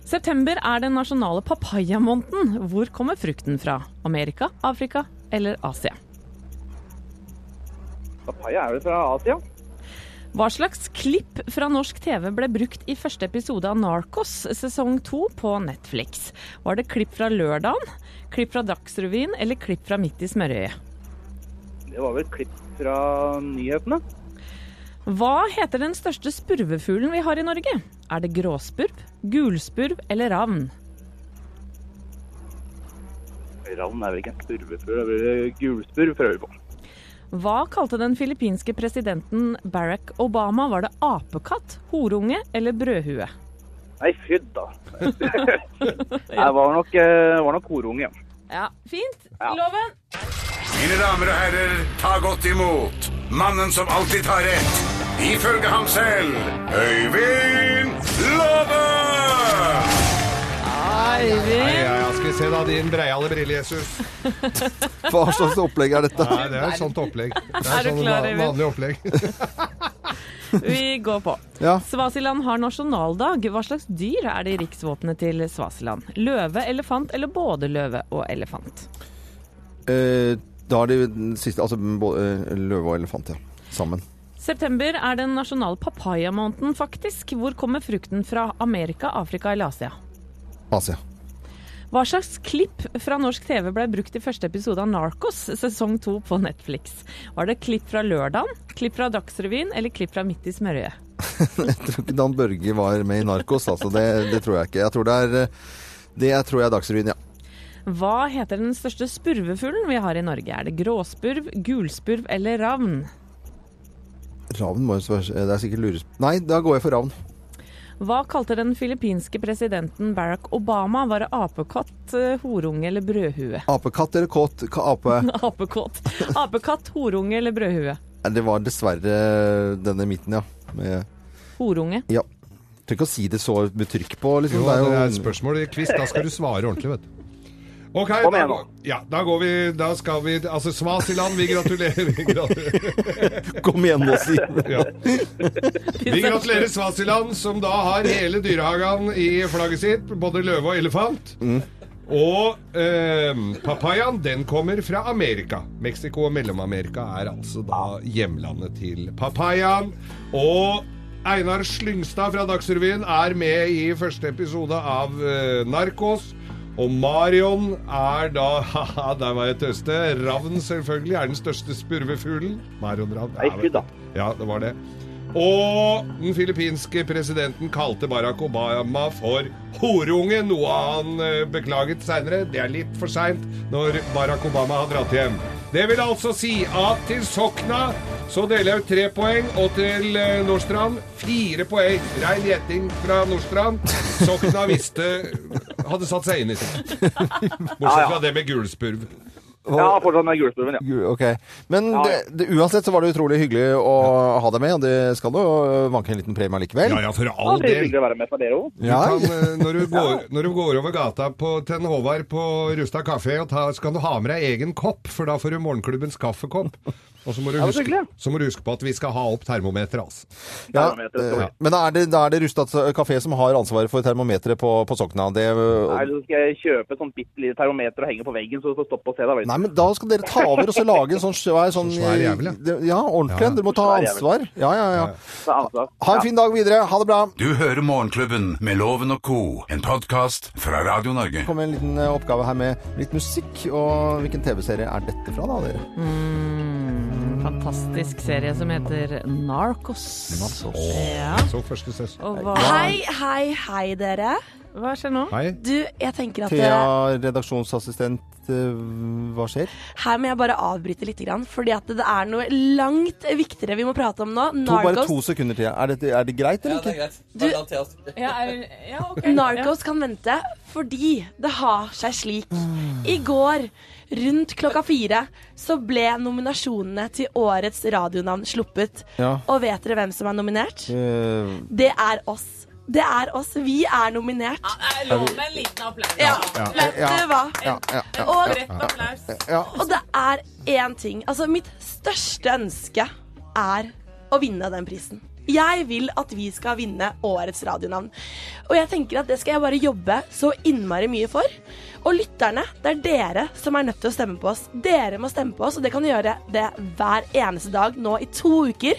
S2: September er den nasjonale papayamåneden. Hvor kommer frukten fra? Amerika, Afrika eller Asia?
S11: Papaya er vel fra Asia?
S2: Hva slags klipp fra norsk TV ble brukt i første episode av Narcos sesong to på Netflix? Var det klipp fra lørdagen, klipp fra Dagsrevyen eller klipp fra Midt i smørøyet?
S11: Det var vel et klipp fra nyhetene?
S2: Hva heter den største spurvefuglen vi har i Norge? Er det gråspurv, gulspurv eller ravn?
S11: Ravn er vel ikke en spurvefugl, det blir det gulspurv, prøver vi på.
S2: Hva kalte den filippinske presidenten Barack Obama? Var det apekatt, horunge eller brødhue?
S11: Nei, fydd da. Nei, det var nok, eh, var nok horunge, ja.
S2: Ja, fint. Loven.
S4: Mine damer og herrer, ta godt imot mannen som alltid tar rett. Ifølge ham selv Øyvind Låve!
S3: Nei, ja, ja, skal vi se da, din breiale brille-Jesus.
S1: Hva slags opplegg er dette?
S3: Nei, det
S2: sånn
S3: er et sånt opplegg. Det
S2: Er
S3: er,
S2: du
S3: sånn
S2: klar,
S3: va-
S2: Emil?
S3: vanlig opplegg.
S2: Vi går på.
S1: Ja.
S2: Svasiland har nasjonaldag. Hva slags dyr er det i riksvåpenet til Svasiland? Løve, elefant eller både løve og elefant?
S1: Eh, da er det jo den siste Altså både eh, løve og elefant, ja. Sammen.
S2: September er den nasjonale papayamåneden, faktisk. Hvor kommer frukten fra? Amerika, Afrika eller Asia?
S1: Asia.
S2: Hva slags klipp fra norsk TV ble brukt i første episode av Narcos sesong to på Netflix? Var det klipp fra lørdagen, klipp fra Dagsrevyen eller klipp fra Midt i smørøyet?
S1: Jeg tror ikke Dan Børge var med i Narkos, altså. Det, det tror jeg ikke. Jeg tror det er eh, det tror jeg er Dagsrevyen, ja.
S2: Hva heter den største spurvefuglen vi har i Norge? Er det gråspurv, gulspurv eller ravn?
S1: Ravn må jo være Det er sikkert lures... Nei, da går jeg for ravn.
S2: Hva kalte den filippinske presidenten Barack Obama? Var det apekatt, eh, horunge eller brødhue?
S1: Apekatt eller kåt ka- ape?
S2: Apekatt, apekatt horunge eller brødhue?
S1: Nei, Det var dessverre denne midten, ja. Med,
S2: Horunge.
S1: ja. Trenger ikke å si det så med trykk på, liksom.
S3: Jo,
S1: det er jo
S3: det er et spørsmål i quiz. Da skal du svare ordentlig, vet du. Ok,
S11: Kom
S3: da,
S11: igjen,
S3: går- ja, da går vi Da skal vi Altså, Svasiland, vi gratulerer. Vi gratulerer,
S1: Kom igjen nå, si det.
S3: ja. vi gratulerer Svasiland, som da har hele dyrehagen i flagget sitt. Både løve og elefant.
S11: Mm.
S3: Og eh, papayaen, den kommer fra Amerika. Mexico og Mellom-Amerika er altså da hjemlandet til papayaen. Og Einar Slyngstad fra Dagsrevyen er med i første episode av eh, Narkos. Og Marion er da Haha, der var jeg tøste. Ravn selvfølgelig er den største spurvefuglen. Marion Ravn.
S11: Nei, fy da.
S3: Ja, det var det. Og den filippinske presidenten kalte Barack Obama for horunge, noe han eh, beklaget seinere. Det er litt for seint når Barack Obama har dratt hjem. Det vil altså si at til Sokna så deler jeg ut tre poeng, og til eh, Nordstrand fire poeng. Rein gjetting fra Nordstrand. Sokna visste Hadde satt seg inn i det. Bortsett fra det med gulspurv.
S11: Ja, fortsatt med gulspurven, ja.
S1: Gud, Ok. Men
S11: Ja, ja.
S1: Det, det, uansett så var det utrolig hyggelig å ha deg med, og det skal jo vanke en liten premie allikevel.
S3: Ja ja, for
S11: Det
S3: all
S11: var veldig
S3: del.
S11: hyggelig å være med for dere òg.
S3: Du
S1: Ja,
S3: kan, eh, når, du går, når du går over gata på, til en Håvard på Rustad kafé, og ta, så kan du ha med deg egen kopp, for da får du morgenklubbens kaffekopp. Og så må, du
S11: Ja, det er
S3: huske,
S11: hyggelig.
S3: så må du huske på at vi skal ha opp termometeret. Altså.
S1: Ja,
S11: Termometeret skal
S1: eh, men da er det, da er det Rustad kafé som har ansvaret for termometeret på, på Sokna. Det, eh,
S11: Nei, så skal jeg kjøpe et sånt bitte lite termometer og henge på veggen, så du får stoppe og se deg. vet du.
S1: nei, men da skal dere ta over og så lage en sånn svær sånn,
S3: Så svær jævel, ja.
S1: det- ja. ordentlig en. Dere må ta
S11: Svær jævel.
S1: ansvar. Ja, ja, ja.
S11: Så ansvar.
S1: Ha en fin dag videre. Ha det bra.
S4: Du hører Morgenklubben med Loven og co., en podkast fra Radio Norge.
S1: kommer en liten eh, oppgave her med litt musikk. Og hvilken TV-serie er dette fra, da, dere?
S2: Mm, Fantastisk serie som heter Narcos. Ja.
S3: Så første ses.
S2: Og hva,
S12: Hei, hei, hei, dere.
S2: hva skjer nå?
S3: Hei.
S12: Du, jeg tenker at
S1: Thea,
S12: eh,
S1: redaksjonsassistent, eh, hva skjer?
S12: Her må jeg bare avbryte litt, grann, fordi at det er noe langt viktigere vi må prate om nå.
S1: To, bare to
S12: Narcos,
S1: sekunder, Thea. Er, dette- er det greit, eller ikke?
S2: Ja, er, ja, ok.
S12: Narcos kan vente fordi det har seg slik. I går rundt klokka fire så ble nominasjonene til årets radionavn sluppet.
S1: Ja.
S12: Og vet dere hvem som er nominert?
S1: Eh,
S12: Det er oss. Det er oss. Vi er nominert.
S2: Jeg lover en liten applaus.
S12: Ja,
S1: Ja.
S12: vet
S1: eh, Ja.
S12: du hva?
S1: ja, ja, ja.
S12: Og,
S2: Rett applaus.
S1: ja.
S12: og det er én ting. Altså, mitt største ønske er å vinne den prisen. Jeg vil at vi skal vinne årets radionavn. Og jeg tenker at det skal jeg bare jobbe så innmari mye for. Og lytterne, det er dere som er nødt til å stemme på oss. Dere må stemme på oss, og det kan gjøre det hver eneste dag nå i to uker.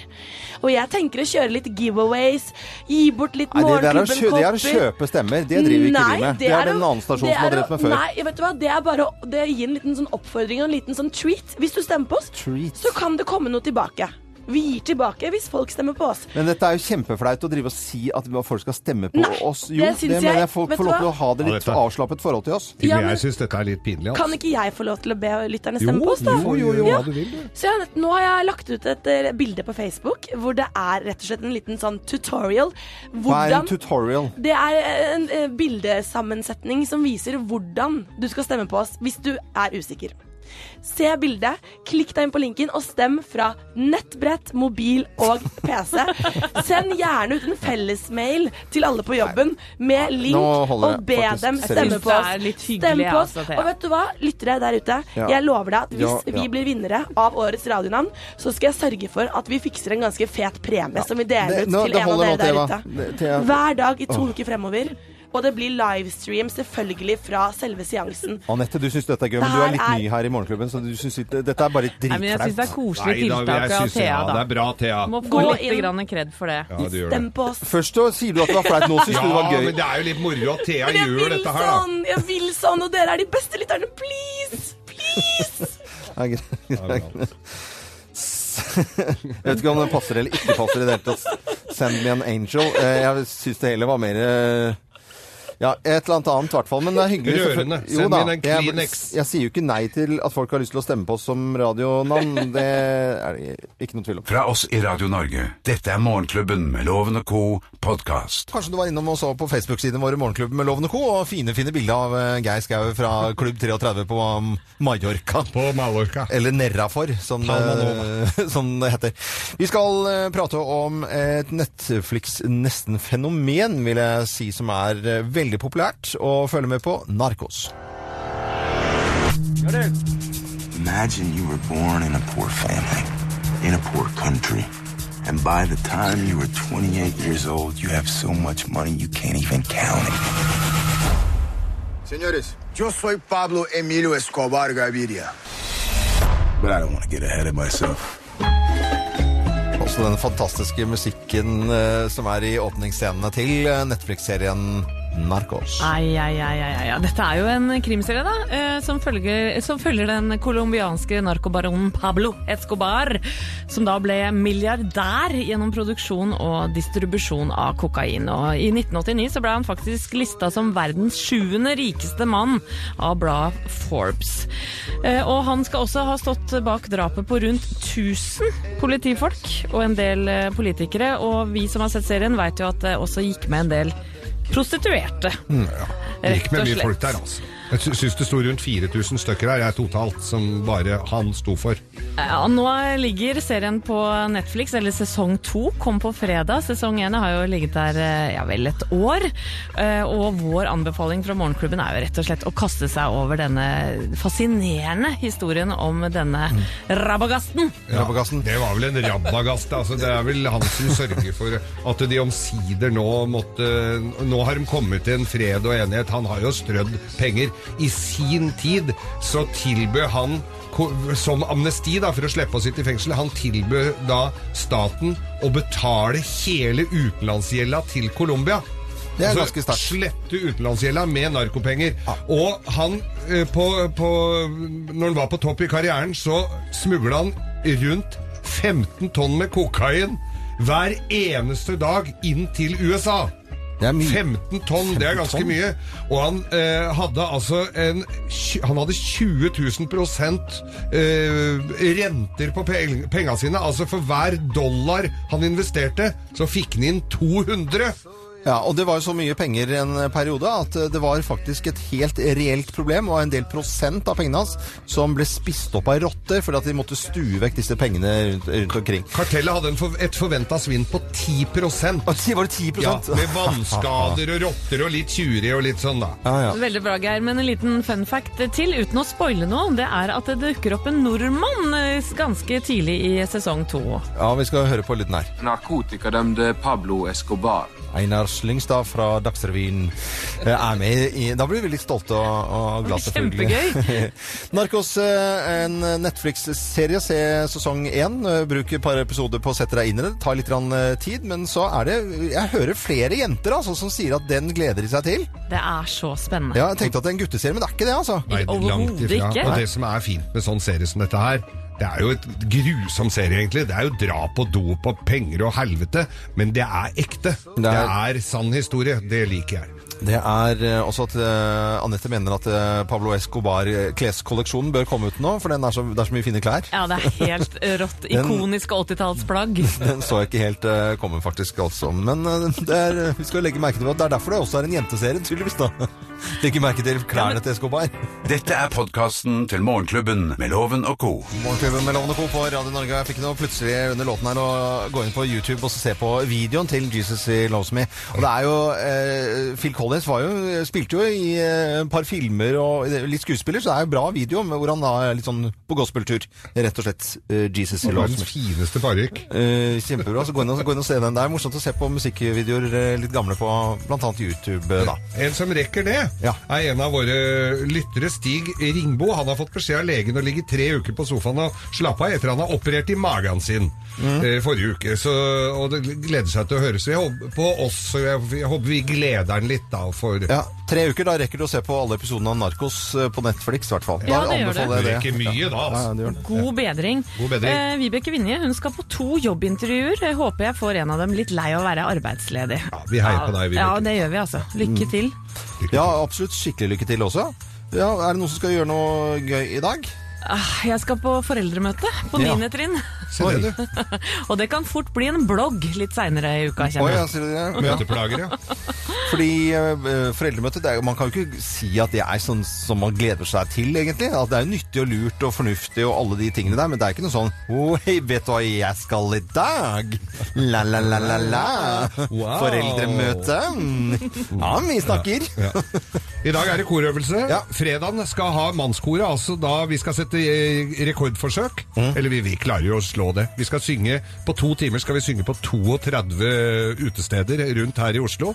S12: Og jeg tenker å kjøre litt giveaways, gi bort litt
S1: Nei, det, det, er å kjø,
S12: morgenklubben-kopper.
S1: det er å kjøpe stemmer. Det driver ikke vi med. Det er det en
S12: å-
S1: annen stasjon
S12: det
S1: som har
S12: er å-
S1: drevet med før.
S12: Nei, vet du hva? Det er bare å det gir en liten sånn oppfordring og en liten sånn treat. Hvis du stemmer på oss,
S1: Treat.
S12: så kan det komme noe tilbake. Vi gir tilbake hvis folk stemmer på oss.
S1: Men dette er jo kjempeflaut å drive og si at folk skal stemme på
S12: Nei,
S1: oss. Jo,
S12: det
S1: det,
S12: syns
S1: mener
S12: jeg.
S1: jeg folk
S12: Vet
S1: får
S12: du
S1: lov til å
S12: hva?
S1: ha det
S3: Ja,
S1: litt
S3: dette-
S1: avslappet forhold til oss.
S3: Til og
S12: Ja,
S3: med
S12: men-
S3: jeg syns dette er litt pinlig.
S12: Kan
S3: Altså.
S12: ikke jeg få lov til å be lytterne stemme på oss, da?
S3: jo, jo, jo,
S12: Ja.
S3: hva du vil, du.
S12: Så jeg, nå har jeg lagt ut et eh, bilde på Facebook hvor det er rett og slett en liten sånn tutorial.
S1: Hva er en
S12: Hvordan
S1: tutorial?
S12: Det er en eh, bildesammensetning som viser hvordan du skal stemme på oss hvis du er usikker. Se bildet, klikk deg inn på linken og stem fra nettbrett, mobil og PC. Send gjerne ut en fellesmail til alle på jobben med link
S1: nå holder
S12: og
S1: jeg
S12: be
S1: faktisk.
S12: dem
S1: Seriøst.
S12: stemme på oss.
S2: Det er litt hyggelig,
S12: Stemme på oss.
S2: altså, Thea.
S12: Og vet du hva, lyttere der ute.
S1: Ja.
S12: Jeg lover deg at hvis
S1: Ja, ja.
S12: vi blir vinnere av årets radionavn, så skal jeg sørge for at vi fikser en ganske fet premie som vi deler
S1: Det,
S12: ut
S1: nå,
S12: til
S1: det
S12: en av
S1: holder nå,
S12: dere der
S1: Thea.
S12: ute.
S1: Det- Thea.
S12: Hver dag i to uker fremover. Og det blir livestream selvfølgelig fra selve seansen.
S1: Anette, du syns dette er gøy, men du
S12: Det
S1: er litt
S12: her er-
S1: ny her i Morgenklubben, så du syns ikke- dette er bare
S2: Nei, men jeg syns det er
S1: dritflaut.
S2: koselig
S3: Nei da, jeg
S2: tiltak av
S3: syns
S2: Thea,
S3: ja, det
S2: da.
S3: er bra, Thea.
S2: Må få
S12: Gå
S2: litt
S12: inn.
S2: grann kred for det.
S3: Ja, du gjør det.
S12: Stem på oss.
S1: Først så sier du at det var flaut, nå syns du det var
S3: Ja,
S1: gøy.
S3: men det er jo litt moro at Thea
S12: Men jeg
S3: gjør
S12: vil
S3: dette her, da.
S12: sånn! Jeg vil sånn, og dere er de beste lytterne. Please! Please!
S1: Ja, greit. Jeg vet ikke om det passer eller ikke passer i det hele tatt. Send me an angel. Eh, Jeg syns det heller var mer eh, ja, et eller annet annet i hvert fall. Men det er hyggelig.
S3: Rørende.
S1: selvfølgelig. Jo
S3: Send
S1: da,
S3: inn en
S1: jeg-
S3: Kleenex.
S1: Jeg sier jo ikke nei til at folk har lyst til å stemme på oss som radionavn. Det er det ikke noe tvil om.
S4: Fra oss i Radio Norge, dette er Morgenklubben med Loven og co. podkast.
S1: Kanskje du var innom og så på Facebook-sidene våre Morgenklubben med Loven og Co. Og fine, fine bilder av eh, Geir Skau fra Klubb 33 på um, Mallorca.
S3: På Mallorca.
S1: Eller Nerrafor, som,
S3: Palma
S1: eh, som det heter. Vi skal eh, prate om et Netflix-nesten-fenomen, vil jeg si, som er eh, veldig populært å følge med på. Narkos.
S10: Imagine you were born in a poor family, in a poor country, and by the time you were 28 years old, you have so much money you can't even count it. Senores, yo soy Pablo Emilio Escobar Gaviria. But I don't want to get ahead of myself.
S1: Også den fantastiske musikken eh, som er i åpningsscenene til eh, Netflix-serien Narcos.
S2: Ai, ai, ai, ai, ai. ja. Dette er jo en krimserie da, eh, som følger, som følger den kolumbianske narkobaronen Pablo Escobar, som da ble milliardær gjennom produksjon og distribusjon av kokain. Og I 1989 så ble han faktisk lista som verdens sjuende rikeste mann av bladet Forbes. Eh, Og han skal også ha stått bak drapet på rundt 1000 politifolk og en del eh, politikere. Og vi som har sett serien vet jo at det også gikk med en del prostituerte.
S3: Mm, ja. Det
S2: Eh, Rett
S3: gikk med
S2: og
S3: mye
S2: slett.
S3: folk der, altså. Jeg sy- syns det sto rundt 4000 stykker her, jeg totalt, som bare han sto for.
S2: Ja, nå ligger serien på Netflix, eller sesong to kom på fredag. Sesong én har jo ligget der eh, ja vel et år. Eh, Og vår anbefaling fra Morgenklubben er jo rett og slett å kaste seg over denne fascinerende historien om denne
S3: Mm.
S2: rabagasten.
S1: Rabagassen.
S3: Det var vel en rabagast. Altså, det er vel han som sørger for at de omsider nå måtte Nå har de kommet til en fred og enighet. Han har jo strødd penger. I sin tid så tilbød han ko- som amnesti da, for å slippe å sitte i fengsel. Han tilbød da staten å betale hele utenlandsgjelda til Colombia.
S1: Det er
S3: Altså,
S1: ganske sterkt.
S3: Slette utenlandsgjelda med narkopenger. Og han, eh, på, på, når han var på topp i karrieren, så smugla han rundt 15 tonn med kokain hver eneste dag inn til USA.
S1: Det er mye.
S3: 15 tonn, det er
S1: 15
S3: ganske
S1: tonn?
S3: mye. Og han eh, hadde altså en tj- Han hadde 20 000 prosent, eh, renter på pe- penga sine. Altså for hver dollar han investerte, så fikk han inn 200.
S1: Ja, og det var jo så mye penger en periode at eh, det var faktisk et helt reelt problem, og en del prosent av pengene hans som ble spist opp av rotter fordi at de måtte stue vekk disse pengene rundt, rundt omkring.
S3: Kartellet hadde en for, et forventa svinn på 10
S1: Var det 10
S3: Ja, Med vannskader og rotter og litt tjuri og litt sånn, da.
S2: Veldig bra, Geir. Men en liten fun fact til, uten å spoile noe. Det er at det dukker opp en nordmann eh, ganske tidlig i sesong to.
S1: Ja, vi skal høre på lyden her.
S13: Narkotikadømte Pablo Escobar.
S1: Einar Slyngstad fra Dagsrevyen eh, er med i Da blir vi litt stolte og, og glad, selvfølgelig.
S13: Kjempegøy.
S1: Narkos, eh, en Netflix-serie, se sesong én. Eh, Bruk et par episoder på å sette deg inn i det. Det tar litt grann, eh, tid, men så er det Jeg hører flere jenter altså, som sier at den gleder de seg til.
S2: Det er så spennende.
S1: Ja, jeg tenkte at det er en gutteserie, men det er ikke det, altså.
S3: Nei, langt ifra. Og det som er fint med sånn serie som dette her, det er jo et grusom serie, egentlig. Det er jo drap og dop og penger og helvete, men det er ekte. Det er, sann historie. Det liker jeg.
S1: Det er eh, også at eh, Anette mener at eh, Pablo Escobar eh, kleskolleksjonen bør komme ut nå, for den er så, det er så mye fine klær.
S2: Ja, det er helt rått.
S1: Den-
S2: Ikoniske 80-tallsplagg.
S1: Den så jeg ikke helt eh, komme, faktisk, altså. Men eh, det er, vi skal legge merke til at det er derfor det også er en jenteserie, tydeligvis, da. Legge merke til klærne til Escobar.
S4: Dette er podkasten til Morgenklubben med Loven og co.
S1: Morgenklubben med Lovende Co. på Radio Norge. Jeg fikk nå plutselig under låten her å gå inn på YouTube og så se på videoen til Jesus He Loves Me. Og det er jo eh, Phil Collins var jo, spilte jo i eh, et par filmer og litt skuespiller, så det er jo bra video med hvor han da er litt sånn på gospeltur. Rett og slett eh, Jesus He Loves
S3: Verdens
S1: Me.
S3: fineste parykk.
S1: Eh, kjempebra. Så gå inn, og, gå inn og se den. Det er morsomt å se på musikkvideoer eh, litt gamle på bl.a. YouTube. eh, da.
S3: En som rekker det, er en av våre lyttere, Stig Ringbo. Han har fått beskjed av legen å ligge tre uker på sofaen og slappe av etter han har operert i magen sin eh, forrige uke. Så, og det gleder seg til å høre. Så jeg håper på oss, så jeg, jeg håper vi gleder han litt da. For,
S1: Ja, Tre uker, da rekker du å se på alle episodene av Narkos eh, på Netflix, i hvert fall.
S2: Ja,
S1: Da
S2: det gjør det.
S1: anbefaler jeg
S3: Det er ikke mye da, altså.
S1: Ja, ja, det gjør det.
S2: God bedring.
S1: God bedring.
S2: Eh, Vibeke Vinje hun skal på to jobbintervjuer. Jeg håper jeg får en av dem litt lei av å være arbeidsledig. Ja,
S3: vi heier på deg, Vibeke.
S2: Ja, det gjør vi altså.
S1: Mm.
S2: Lykke til.
S1: Ja, absolutt. Skikkelig lykke til også. Ja, Er det noen som skal gjøre noe gøy i dag?
S2: Ah, Jeg skal på foreldremøte på
S1: Ja.
S2: niende trinn.
S1: Se det,
S2: Og det kan fort bli en blogg litt seinere i uka,
S1: Oi,
S2: kjenner
S1: ja, sier du det? Ja.
S3: Møteplager, ja.
S1: Fordi eh, foreldremøte det er, jo- Man kan jo ikke si at det er sånn som man gleder seg til, egentlig. At det er jo nyttig og lurt og fornuftig og alle de tingene der, men det er ikke noe sånn oh, hei, vet du hva jeg skal i dag? La-la-la-la-la.
S3: Wow.
S1: Foreldremøte. Mm. Ja, vi snakker.
S3: Ja, I dag er det korøvelse. Fredagen skal ha mannskoret, altså da vi skal sette eh, rekordforsøk.
S1: Mm.
S3: Eller vi, vi klarer jo å slå det. Vi skal synge, På to timer skal vi synge på 32 utesteder rundt her i Oslo.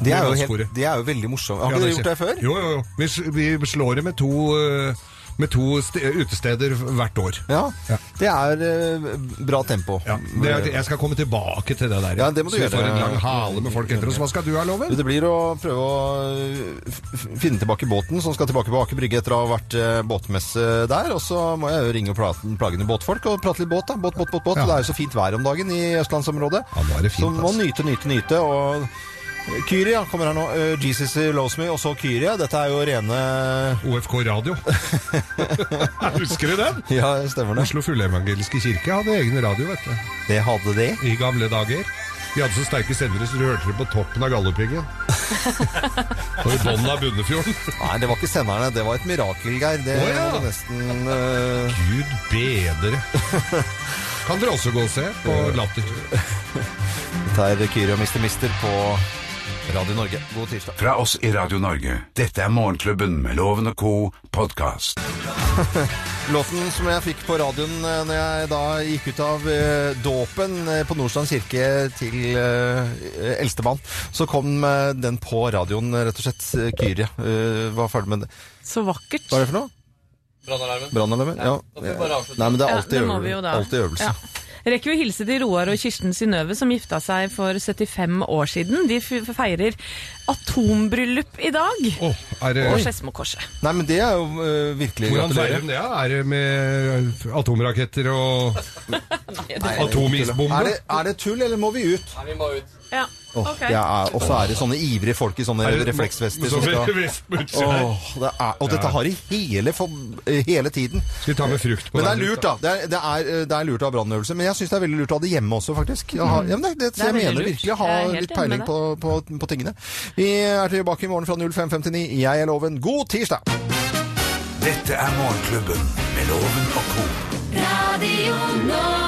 S1: Det er jo
S3: Mannskoret.
S1: helt, det er jo veldig morsomt. Har
S3: Ja,
S1: ikke
S3: det
S1: dere gjort
S3: er-
S1: det før?
S3: Jo, jo, jo. Vi, s- vi slår det med to eh, med to st utesteder hvert år.
S1: Ja, det er eh, bra tempo.
S3: Det er, jeg skal komme tilbake til det der.
S1: Ja, det må du
S3: så vi
S1: gjøre.
S3: får en lang hale med folk etter oss. Hva skal du ha, Loven?
S1: Det blir å prøve å f- f- finne tilbake båten som skal tilbake på Aker Brygge etter å ha vært eh, båtmesse der. Og så må jeg jo ringe og prate- plagende båtfolk og prate litt båt, da. Båt, båt, båt. båt. Det er jo så fint vær om dagen i østlandsområdet. så må
S3: altså.
S1: nyte, nyte, nyte. Og eh, Kyrie ja, kommer her nå. Eh, Jesus Loves Me, og så Kyrie. Dette er jo rene
S3: OFK Radio. Husker du den?
S1: Ja, stemmer det.
S3: Oslo Fullevangeliske kirke hadde egen radio, vet du.
S1: Det hadde de.
S3: I gamle dager. De hadde så sterke sendere så du hørte det på toppen av Galdhøpiggen. Og i bunnen av Bunnefjorden.
S1: Nei, det var ikke senderne. Det var et mirakel, Geir. Det
S3: Å, ja.
S1: var det nesten eh,
S3: Gud bedre. Kan dere også gå og se på Latter.
S1: Dette er Kyrie og Mister Mister på Radio Norge. God tirsdag.
S4: Fra oss i Radio Norge. Dette er Morgenklubben med Loven og Co. podkast.
S1: Låten som jeg fikk på radioen eh, når jeg da gikk ut av eh, dåpen eh, på Nordstrand kirke til eh, eh, eldstemann, så kom eh, den på radioen, eh, rett og slett. Eh, Kyrie eh, var ferdig med det.
S2: Så vakkert.
S1: Hva er det for noe?
S14: Brannalarmen.
S1: Brannalarmen? Ja.
S14: Da får vi bare avslutte.
S1: Nei, men det er
S2: Ja,
S1: alltid,
S2: må vi jo
S1: øvel-
S2: da.
S1: alltid øvelse.
S2: Ja. Rekker vi å hilse til Roar og Kirsten Synnøve, som gifta seg for 75 år siden. De f- feirer atombryllup i dag.
S3: er det-
S2: Og Skedsmokorset.
S1: Nei, men det er jo eh, virkelig
S3: Hvordan feirer de det? da? Er det med eh, atomraketter og atomisbombe?
S1: Er det, er det tull, eller må vi ut?
S14: Nei, vi må ut.
S2: Ja,
S1: Åh, jeg er- Og så er det sånne ivrige folk i sånne
S3: Er det-
S1: refleksvester
S3: med
S1: som
S3: sånne
S1: skal
S3: vestbukser her.
S1: Åh, det er, Og dette
S3: Ja.
S1: har de hele, for, hele tiden.
S3: Skal vi ta med frukt på
S1: Men det er
S3: veien ut,
S1: lurt, da. Det er, det er, eh, det er lurt å ha brannøvelse. Men jeg syns det er veldig lurt å ha det hjemme også, faktisk. Jeg, har, ja, men det, det,
S4: Mm. Det er
S1: jeg
S4: veldig
S1: mener
S4: lurt.
S1: virkelig å ha
S4: Jeg er helt
S1: litt
S4: enig
S1: peiling
S4: med
S1: på, på, på tingene. Vi er tilbake i morgen fra 05.59. Jeg er Loven. God tirsdag!
S4: Dette er Morgenklubben med Loven og Co.
S9: Radio Norge.